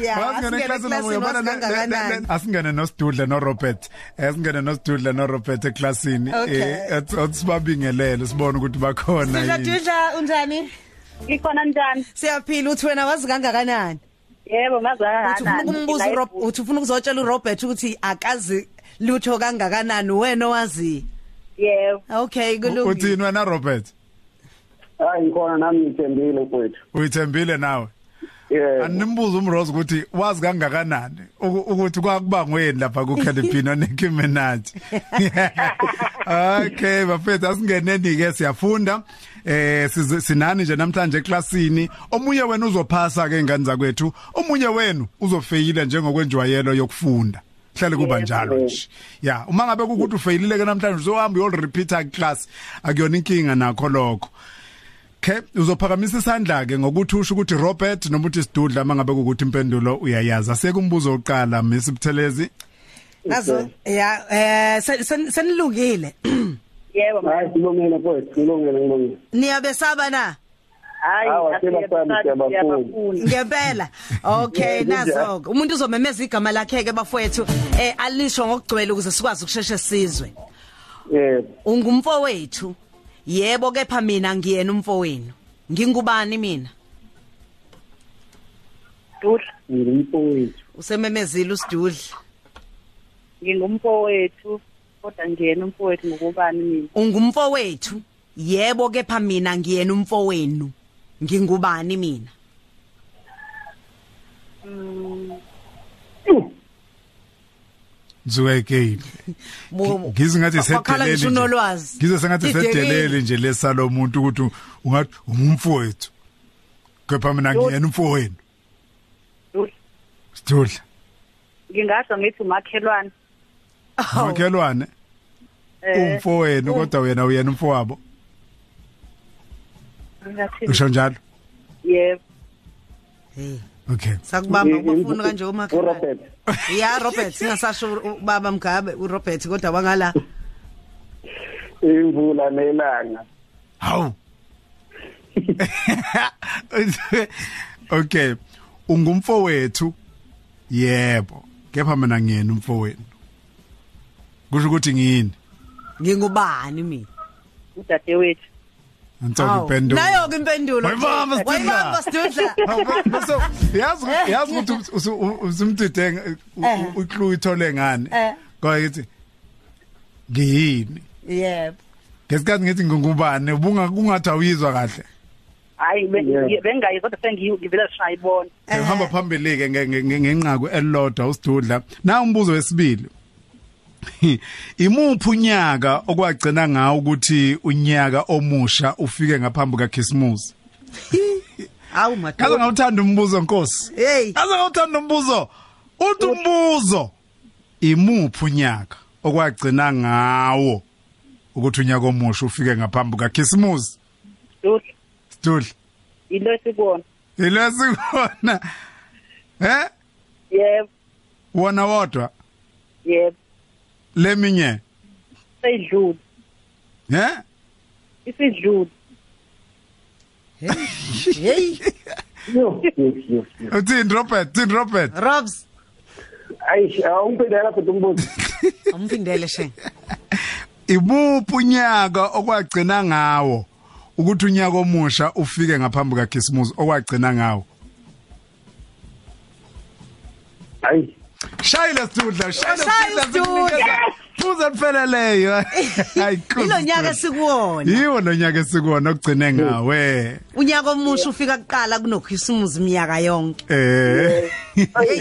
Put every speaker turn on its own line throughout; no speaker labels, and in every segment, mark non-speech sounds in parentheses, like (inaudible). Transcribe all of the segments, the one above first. Yeah, Ah,
Wasingena
asingene
eklasini
eklasini
yabona ne- ne- ne-
wasingangakanani.
ne- asingene noSidudla noRobert. eh, Asingene noSidudla noRobert eklasini. eh,
Okay.
Otsibabingelele sibone ukuthi bakhona
Dudla
yini.
Dudla unjani?
Ikhona njani?
Siyaphila uthi wena wazi kangakanani?
Yebo
Uthi ufuna
ngazana.
ukumbuza uRob uthi ufuna ukuzotshela uRobert ukuthi akazi lutho kangakanani wena owazi.
Yebo.
Okay, kulungile.
Uthini wena Robert?
hayi ngikhona nami ngithembile mfowethu
Uyithembile nawe.
yeah
Animbuza umrose ukuthi wazi kangakanani uku- ukuthi kwakuba ngweni lapha
(laughs)
kuCalipino neNicki Minaj. (laughs) Okay, bafethu asingeneni ke siyafunda. Eh siz- sinani nje namhlanje eklasini. Omunye wenu uzophasa ke ingane zakwethu, omunye wenu uzofeyila njengokwenjwayelo yokufunda. Hlale kuba
Yes,
njalo
yes.
nje. ya uma ngabe kukuthi ufeyilile ke namhlanje uzohamba uyol repeater class akuyona inkinga nakho lokho Okay uzophakamisa isandla ke ngokuthi usho ukuthi Robert noma uthi Sidudla uma ngabe kukuthi impendulo uyayaza sekumbuzo oqala Miss Buthelezi
Nazo yeah eh sen- sen- senilungile. (clears throat)
Yebo. ma-
hayi silungele mfowethu silungele ngilungile
Niyabesaba na?
Hayi.
Hawa,
asiyabasabi,
siyabasabi, siyabafuna.
siyabafuna.
Ngempela. Okay
Yeah, kunjalo.
nazo. Umuntu uzomemeza igama lakhe ke bafowethu eh alisho ngokugcwele ukuze sikwazi ukusheshshe sizwe.
yebo
Ungumfo wethu. Yebo kepha mina ngiyena umfo wenu. Ngingubani mina?
Dudla.
ngimfowethu
Usememezile uSidudla.
Ngingumfowethu kodwa ngiyena umfowethu ngokubani mina?
Ungumfo wethu. Yebo kepha mina ngiyena umfo wenu. Ngingubani mina?
Zuwe again
Bo-
ngize ngathi
Wakhala
sedeleli
Oh, ngisho
nje.
unolwazi.
ngize sengathi
Didekile.
sedeleli nje lesalomuntu ukuthi ungathi umfowethu kepha mina ngiyena umfowenu
Dudla.
Sidudla
Ngingasho ngithi umakhelwane.
(laughs) Awu.
umakhelwane
Eh.
umfowenu
um.
kodwa wena uyena umfowabo
ngingathini?
usho njalo
Eh, Yebo.
Hey,
okay
Sakubamba
Ngi-
ubafuna kanje umakhelwane.
Eh, uRobert
(laughs) Ya Robert singasasho u- ubaba Mgabe uRobert kodwa wangala.
imvula nelanga
Haw. (laughs) Okay. Ungumfo wethu. Yebo. Kepha mina ngiyena umfo wenu. Kusho ukuthi ngiyini?
Ngingubani mina?
Udadewethu.
Antsongi
Awu.
impendulo.
Nayo ke impendulo.
Wayibamba, Sidudla.
Wayibamba Sidudla.
Hawu, ba- Bese yazi ukuthi- yazi ukuthi usu- u- usimdide nge- u-
Eh.
u- uClue ithole ngani?
Eh.
Ngoba yithi ngiyini?
Yebo.
Ngesikhathi ngithi ngingubani ubunga kungathi awuyizwa kahle.
Hayi
Yebo.
bengayi kodwa sengiyivela shayibona.
Eh.
ehamba phambili ke nge- nge- nge- ngenqaku elilodwa usidudla na umbuzo wesibili (laughs) imuphi unyaka okwagcina ngawo ukuthi unyaka omusha ufike ngaphambi kaChristmas
Awu
kaze
madodana.
ngawuthanda umbuzo nkosi
Hey.
kaze ngawuthanda umbuzo uthi umbuzo imuphi unyaka okwagcina ngawo ukuthi unyaka omusha ufike ngaphambi kaChristmas
Dudla.
sidudla
Yilo sikubona.
yilesi kona eh
Yebo.
wona wodwa
Yebo.
leminye
Seyidlule.
Eh?
Isidlule.
Hey.
yo yo yo yo.
Uthini Robert? Uthini Robert?
Robs
ayi awungiphendela futhi umbuzo
umphindele she.
Ibuphi unyaka okwagcina ngawo ukuthi unyaka omusha ufike ngaphambi kaChristmas okwagcina ngawo?
hayi
Shayile Sidudla,
Shaya
shayile
uSidudla.
Buza
(laughs)
lipheleleyo. Hayi cool.
Ilo nyaka sikuwona.
Yiwo lo nyaka esikona eh, ogcine ngawe.
Unyaka omusha ufika kuqala kunokhisimusi minyaka yonke. (laughs)
Eh.
ayi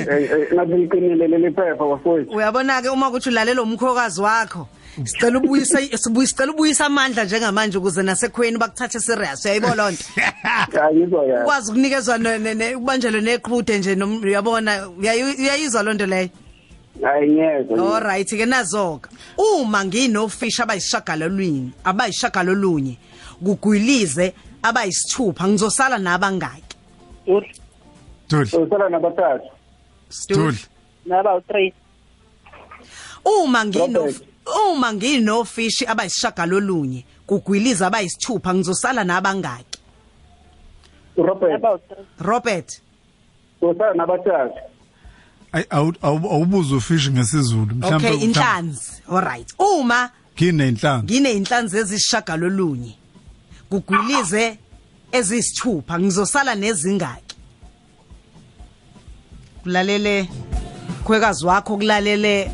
ngabe ngiqinelele lephepha bafowethu
Uyabona ke uma kuthi ulalela umkhokazi wakho. Sicela ubuyisa sibuyi sicela ubuyisa amandla njengamanje ukuze nasekhweni bakuthathe serious uyayibona lonto.
hayi ngizwa yazi
Ukwazi ukunikezwa ne- ne- ne- ukubanjelwe neqhude nje nom- uyabona uyayi- uyayizwa lonto leyo.
hayi ngiyezwa
All right ke nazoka. Uma nginofisha abayishagalolwini, abayishagalolunye, kugwilize abayisithupha ngizosala nabangaki.
Dudla.
Dudla.
sosala nabathathu
Dudla.
Naba u3.
Uma ngino
Robert.
uma nginofishi abayishagalolunye, kugwiliza abayisithupha ngizosala nabangaki.
uRobert
Naba u3.
Robert
sosala nabathathu
Ayi, awu- awu- awubuze ufishi ngesizulu mhlawumbe-
okay
mhlawumbe-
inhlanzi all right uma
nginenhlanzi
ngineyinhlanzi ezisishagalolunye kugwilize ezisithupha ngizosala nezingaki kulalele khwekazi wakho kulalele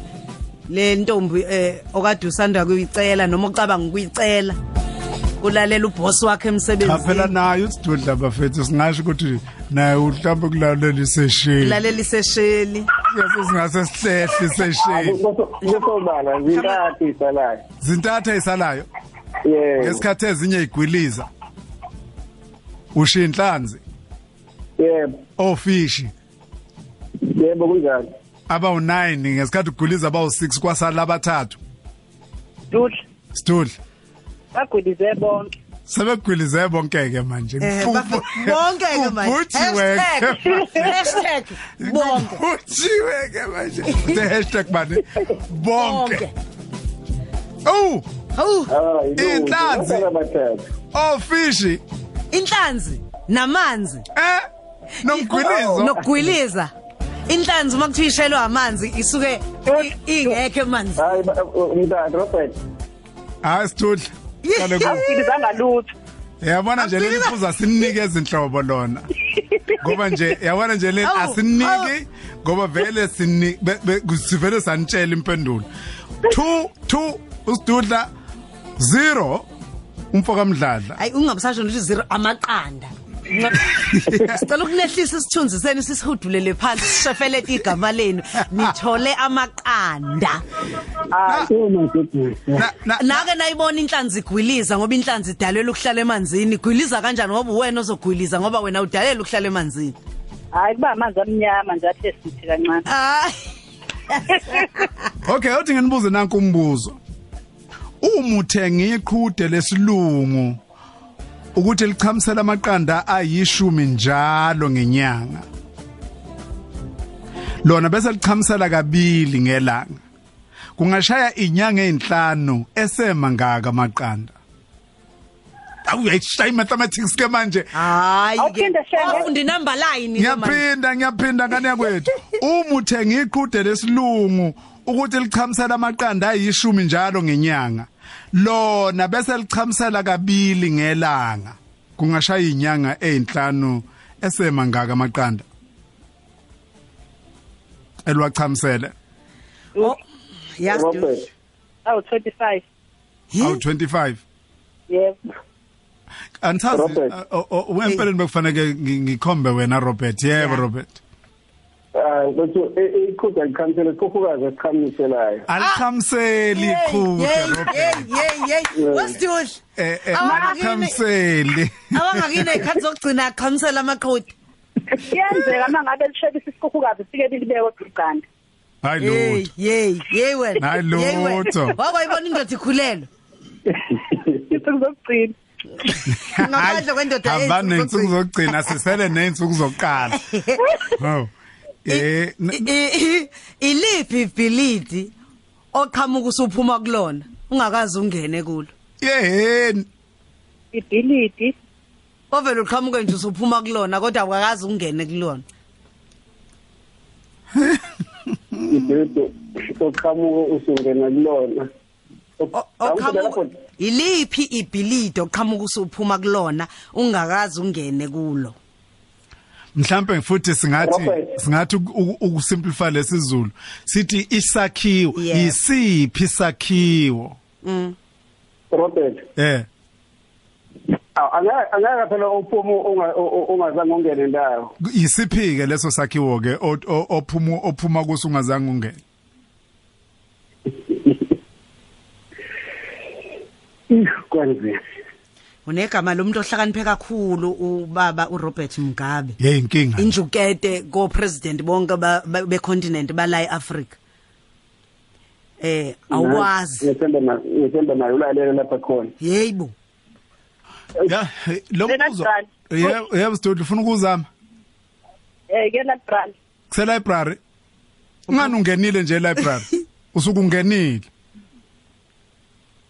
le ntombi eh okade usanda kuyicela noma ucabanga ukuyicela kulalela ubhosi wakhe
cha phela
emsebenzini
nayo isidudla bafethu singasho ukuthi naye mhlawumbe kulalela isesheli
kulalela isesheli
singase sihlehle isesheli
kusobala zintathu isalayo
zintatha isalayo
yebo
ngesikhathi ezinye igwiliza ushiya inhlanzi
yebo
ofishi
yebo kunjani
abawu-9 ngesikhathi ugwiliza abawu-6 kwasala abathathu
dudla
sidudla
bagwilize bonke
sebegwilize bonke ke manje
Eh, bafe- bonke ke manje
manje
hashtag hashtag bonke
Kuthiwe ke manje. The hashtag bani? Bonke.
bonke
Oh,
hawu
hayi
Inhlanzi.
bathathu
oh fishi.
inhlanzi namanzi
Eh? Nomgwilizo.
nokugwiliza inhlanzi uma kuthiwa ishelwe amanzi isuke i- ingekho emanzi
hayi ba- umntanzi Robert
Hayi sidudla. Qale ku.
ngilizanga lutho
Yabona nje leli
Akugcina-
phuza sininikeza inhlobo lona. Ngoba nje yabona nje leli
Awu,
asiniki ngoba vele sini be- be- sivele sanitshela impendulo. 2 2 usidudla 0 umfoka mdladla.
hayi ungabusasho nje zero amaqanda sicela ukunehlisa isithunzi senu sisihudulele phansi sishefele igama lenu nithole amaqanda Ah.
Na- na-
nake nayibona inhlanzi igwiliza ngoba inhlanzi idalela ukuhlala emanzini igwiliza kanjani ngoba uwena ozogwiliza ngoba wena udalela ukuhlala emanzini
hayi kuba amanzi amnyama nje athe sithi kancane
hayi
Okay, uthi nginibuze nanku umbuzo. Uma uthenga iqhude lesilungu ukuthi lichamisele amaqanda ayishumi njalo ngenyanga. Lona bese lichamisela kabili ngelanga. Kungashaya inyanga ezinhlanu esemangaka amaqanda. Awu ayishaya mathematics ke manje.
hayi ke
Awuphinde shenge.
ufunda Oh, inamba line ke manje.
Ngiyaphinda ngiyaphinda ngane
(laughs)
kwethu. Uma uthenga iqhude lesilungu ukuthi lichamisela amaqanda ayishumi njalo ngenyanga. Lona bese lichamisela kabili ngelanga. Kungashaya inyanga ezinhlanu esemangaka amaqanda. Elwachamisele.
Oh, yazi
Robert
awu 25
Hi.
Awu25.
yebo
Antazi
Robert.
o- o- wempeleni bekufanele uh, ngi- ngikhombe wena Robert. Yebo
Yeah.
Robert.
hayi bethu iqhuza likhamisele sikhukukazi esikhamiselayo
Ah.
Alichamiseli iqhude Robert.
yey wasiduhle
Eh eh
abangakini
alichamiseli.
iy'khathi zokugcina aqhamisela amaqhude
kuyenzeka uma ngabe lishebisa isikhukhukazi sike bilibekwe edugane
Hayi
yeyi
lutho.
yeyi yeyi wena
Hayi
Yeyi wena.
lutho.
wakwayibona indoda ikhulelwa
insuku zokugcina
ngaphandle kwendoda
Hamba
ey'nsuku
nensuku zokugcina sisele nensuku zokuqala. Oh. Eh n-
I- i- iliphi ibhilidi oqhamuka usuphuma kulona ungakazi ungene kulo
yeheni.
ibhilidi
ovele uqhamuke nje usuphuma kulona kodwa awukakazi ungene kulona
E, ibhedu oqhamuka usungena kulona
O- oqhamuka iliphi ibhilidi oqhamuka usuphuma kulona ungakazi ungene kulo
Mhlambe futhi singathi
Robert.
singathi uku- ukusimplify lesizulu sithi isakhiwo
Yeah.
isiphi isakhiwo
Mm.
Robert
eh
aw- angeke angeke phela uphume unga- u- u- ungazange ungene ndawo
isiphi ke leso sakhiwo ke o- o- ophuma ophuma kuso ungazange ungene
kwanzima
unegama lomuntu ohlakaniphe kakhulu ubaba uRobert Mugabe
yeyinkinga
injukete ko president bonke ba- ba- be continent bala eAfrica eh awazi
ngithemba na- ngithemba nayo ulalele lapha khona
yebo
ya eh, lo
Lena
mbuzo
Brand.
yebo yebo Studi ufuna ukuzama
eh ke la brand
kuse library ungani ungenile nje library usuke ungenile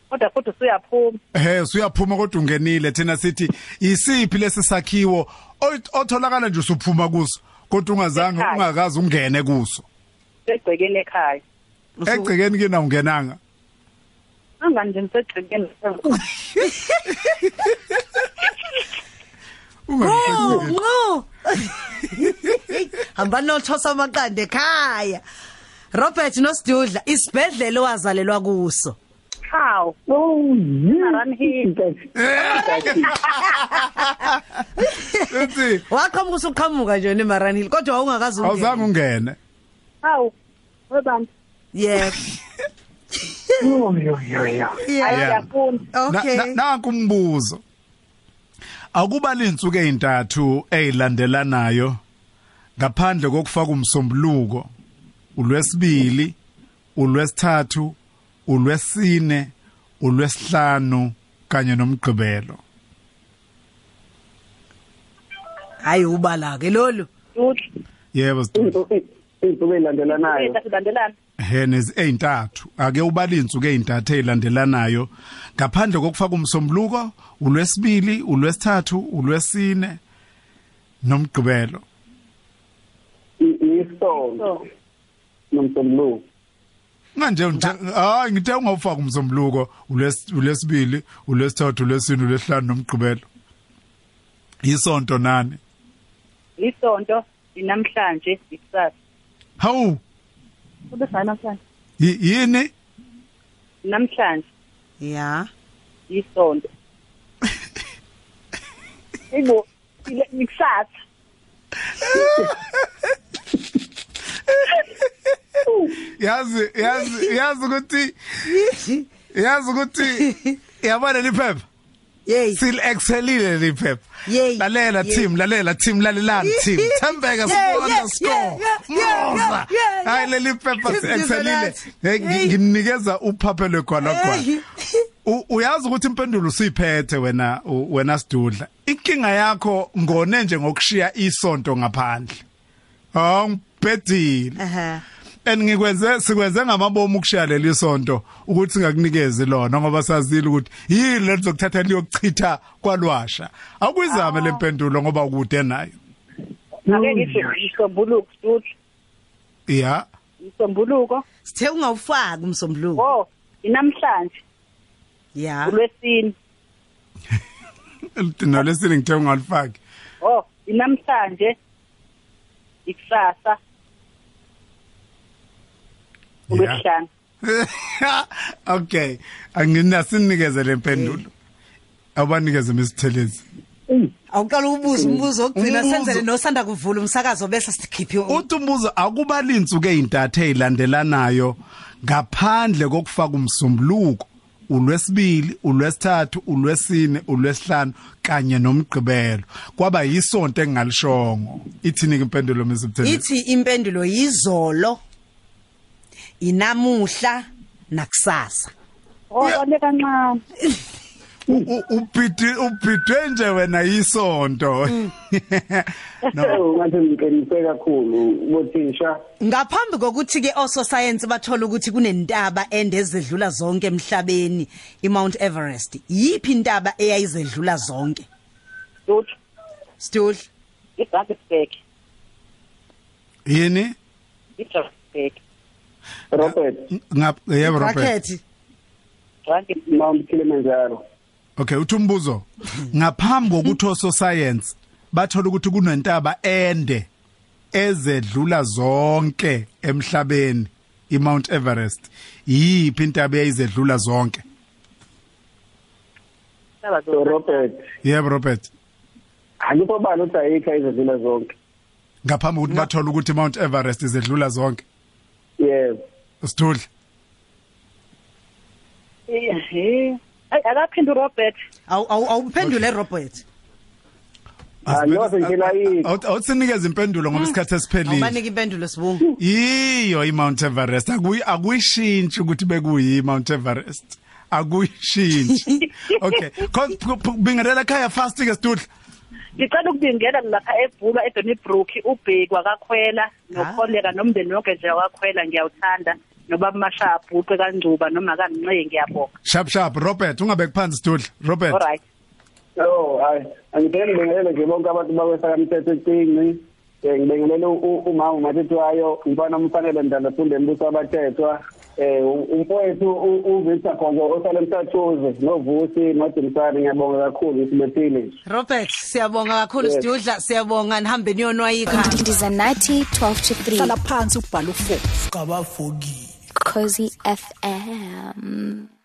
kodwa futhi usuyaphuma
ehe usuyaphuma kodwa ungenile thina sithi isiphi lesi sakhiwo o- otholakala nje usuphuma kuso kodwa ungazange
Ekhaya.
ungakazi ungene kuso
egcekeni ekhaya
Usu-
egcekeni kini awungenanga
angani nje ngisegcekeni
Nqu,
Ungangisho-
nqu. (laughs) hamba nothosa amaqanda ekhaya robert nosidudla isibhedlele owazalelwa kuso
hawu
Oh,
Aram here.
Uthi
waqhamuka usuqhamuka nje wena emaranhill kodwa wawungakazi ungena.
awuzange ungene
hawu webani
yebo
Yo, yo, yo, yo.
yebo.
Yeah.
ayafunda
okay
Na- na- nanku umbuzo akuba linsuku ezintathu ezilandelanayo ngaphandle kokufaka umsombuluko ulwesibili ulwesithathu ulwesine ulwesihlanu kanye nomgqibelo
hayi ubala ke lolu
duhle
yebo Sithole.
Izinto ezilandelanayo.
silandelana
henez ezintathu ake ubale izinsuku ezintathu ezilandelanayo ngaphandle kokufaka umsombuluko ulwesibili ulwesithathu ulwesine nomgqibelo
I- Isonto
so
nomsombuluko.
manje nje hayi ngithe ungawufaka umsombuluko ulwes- ulwesibili ulwesithathu ulwesine ulwesihlanu nomgqibelo isonto nani
isonto inamhlanje ikusasa
hawu
kube sanamhlanje
yi- yini
namhlanje
ya
isonto Ibo ile ikusasa
yazi yazi yazi ukuthi yazi ukuthi
(laughs)
yabona liphepha
yey
sil excelile liphepha
Yey.
lalela
Yey.
team lalela team lalelani team
Yeah,
thembeka score
yeah,
underscore
yeah, yeah,
moza
yeah, yeah, yeah.
hayi leli phepha
Isizwe
excelile
lathi.
hey
Hey.
nginikeza uphaphe
Hey.
lwegwalagwala U- uyazi ukuthi impendulo usiphethe wena u- wena Sidudla inkinga yakho ngone nje ngokushiya isonto ngaphandle awungibhedile
Ehhe.
andingikwenze sikwenze ngamabomu ukushiya leli sonto ukuthi singakunikezi lona ngoba sazile ukuthi yini lelizokuthatha liyokuchitha kwalwasha awukuyizame le mpendulo ngoba ukude nayo
ake ngisho isombuluko duhle
ya
isombuluko
sithe ungawufaki umsombuluko
oh inamhlanje
ya
ulwesini
nalesini ngithe ungalifaki
oh inamhlanje ikusasa ulwesihlanu
(laughs) okay anginasinikeze le mpendulo abanikeze misithelezi
awuqala ubuza umbuzo ogcina
Umbuzo.
senzele nosanda kuvula umsakazo bese sikhiphe um-. u-
uthi umbuzo akuba linsuku ezintathu ezilandelanayo ngaphandle kokufaka umsombuluko ulwesibili ulwesithathu ulwesine ulwesihlanu kanye nomgqibelo kwaba yisonto engingalishongo ithini ke impendulo misibthele
ithi impendulo yizolo inamuhla nakusasa
oh le kancane
ubhidwe nje wena yisonto (laughs) no
So Oh, ngathi ngiqinise kakhulu bothisha.
ngaphambi kokuthi ke ososayensi bathola ukuthi kunentaba endezedlula zonke emhlabeni iMount Everest yipi intaba eyayizedlula zonke
duhle
Stuhl
iBrakensberg
yini
iBrakensberg
Robert
Ngap- yebo Robert
bracket
Brakensberg
Mount Kilimanjaro.
okay uthi umbuzo ngaphambi kokuthi ososayensi bathola ukuthi kunentaba ende ezedlula zonke emhlabeni iMount Everest yiphi intaba eyizedlula zonke
saba
So
zo
Robert
yebo Robert
alikho bani ukuthi ayikho izidlula zonke.
ngaphambi kokuthi bathola ukuthi iMount Everest izedlula zonke
Yes.
Sithudla
ehe Ay, akaphindi uRobert
awu awu- awuphendule Robert
Aloze nje la yikho.
awutsinikeza impendulo ngoba isikhathi esiphelile
awubanike impendulo sibungu
yiyo iMount Everest akuyi akuyishintshi ukuthi bekuyi iMount Everest akuyishintshi okay Kon- phu- phu- bingelela ekhaya fast ke Sithudla
ngicela ukubingela lapha ebhulwa eDonnybrook ubhekwa kakhwela nokoleka nomndeni wonke nje wakakhwela ngiyawuthanda noba mashabhuqe kancuba noma kancinci ngiyabonga
Sharp sharp Robert ungabeki phansi Sithudla Robert
alright
Oh, hayi. Angibengele nje bonke abantu bakwesa kamthetho ecinci. eh ngibengelele u- umama uMathethwayo umfana omfanele mntana funde mbuso abathethwa eh u- umfowethu u- uVictor Gonzo osale emtathuze noVusi noDimsani ngiyabonga kakhulu isibethile
Robert siyabonga kakhulu
Yes.
Sidudla siyabonga nihambe niyonwayi ekhaya
Ndiza nathi 12 to 3
hlala phansi ubhala u4
Cozy FM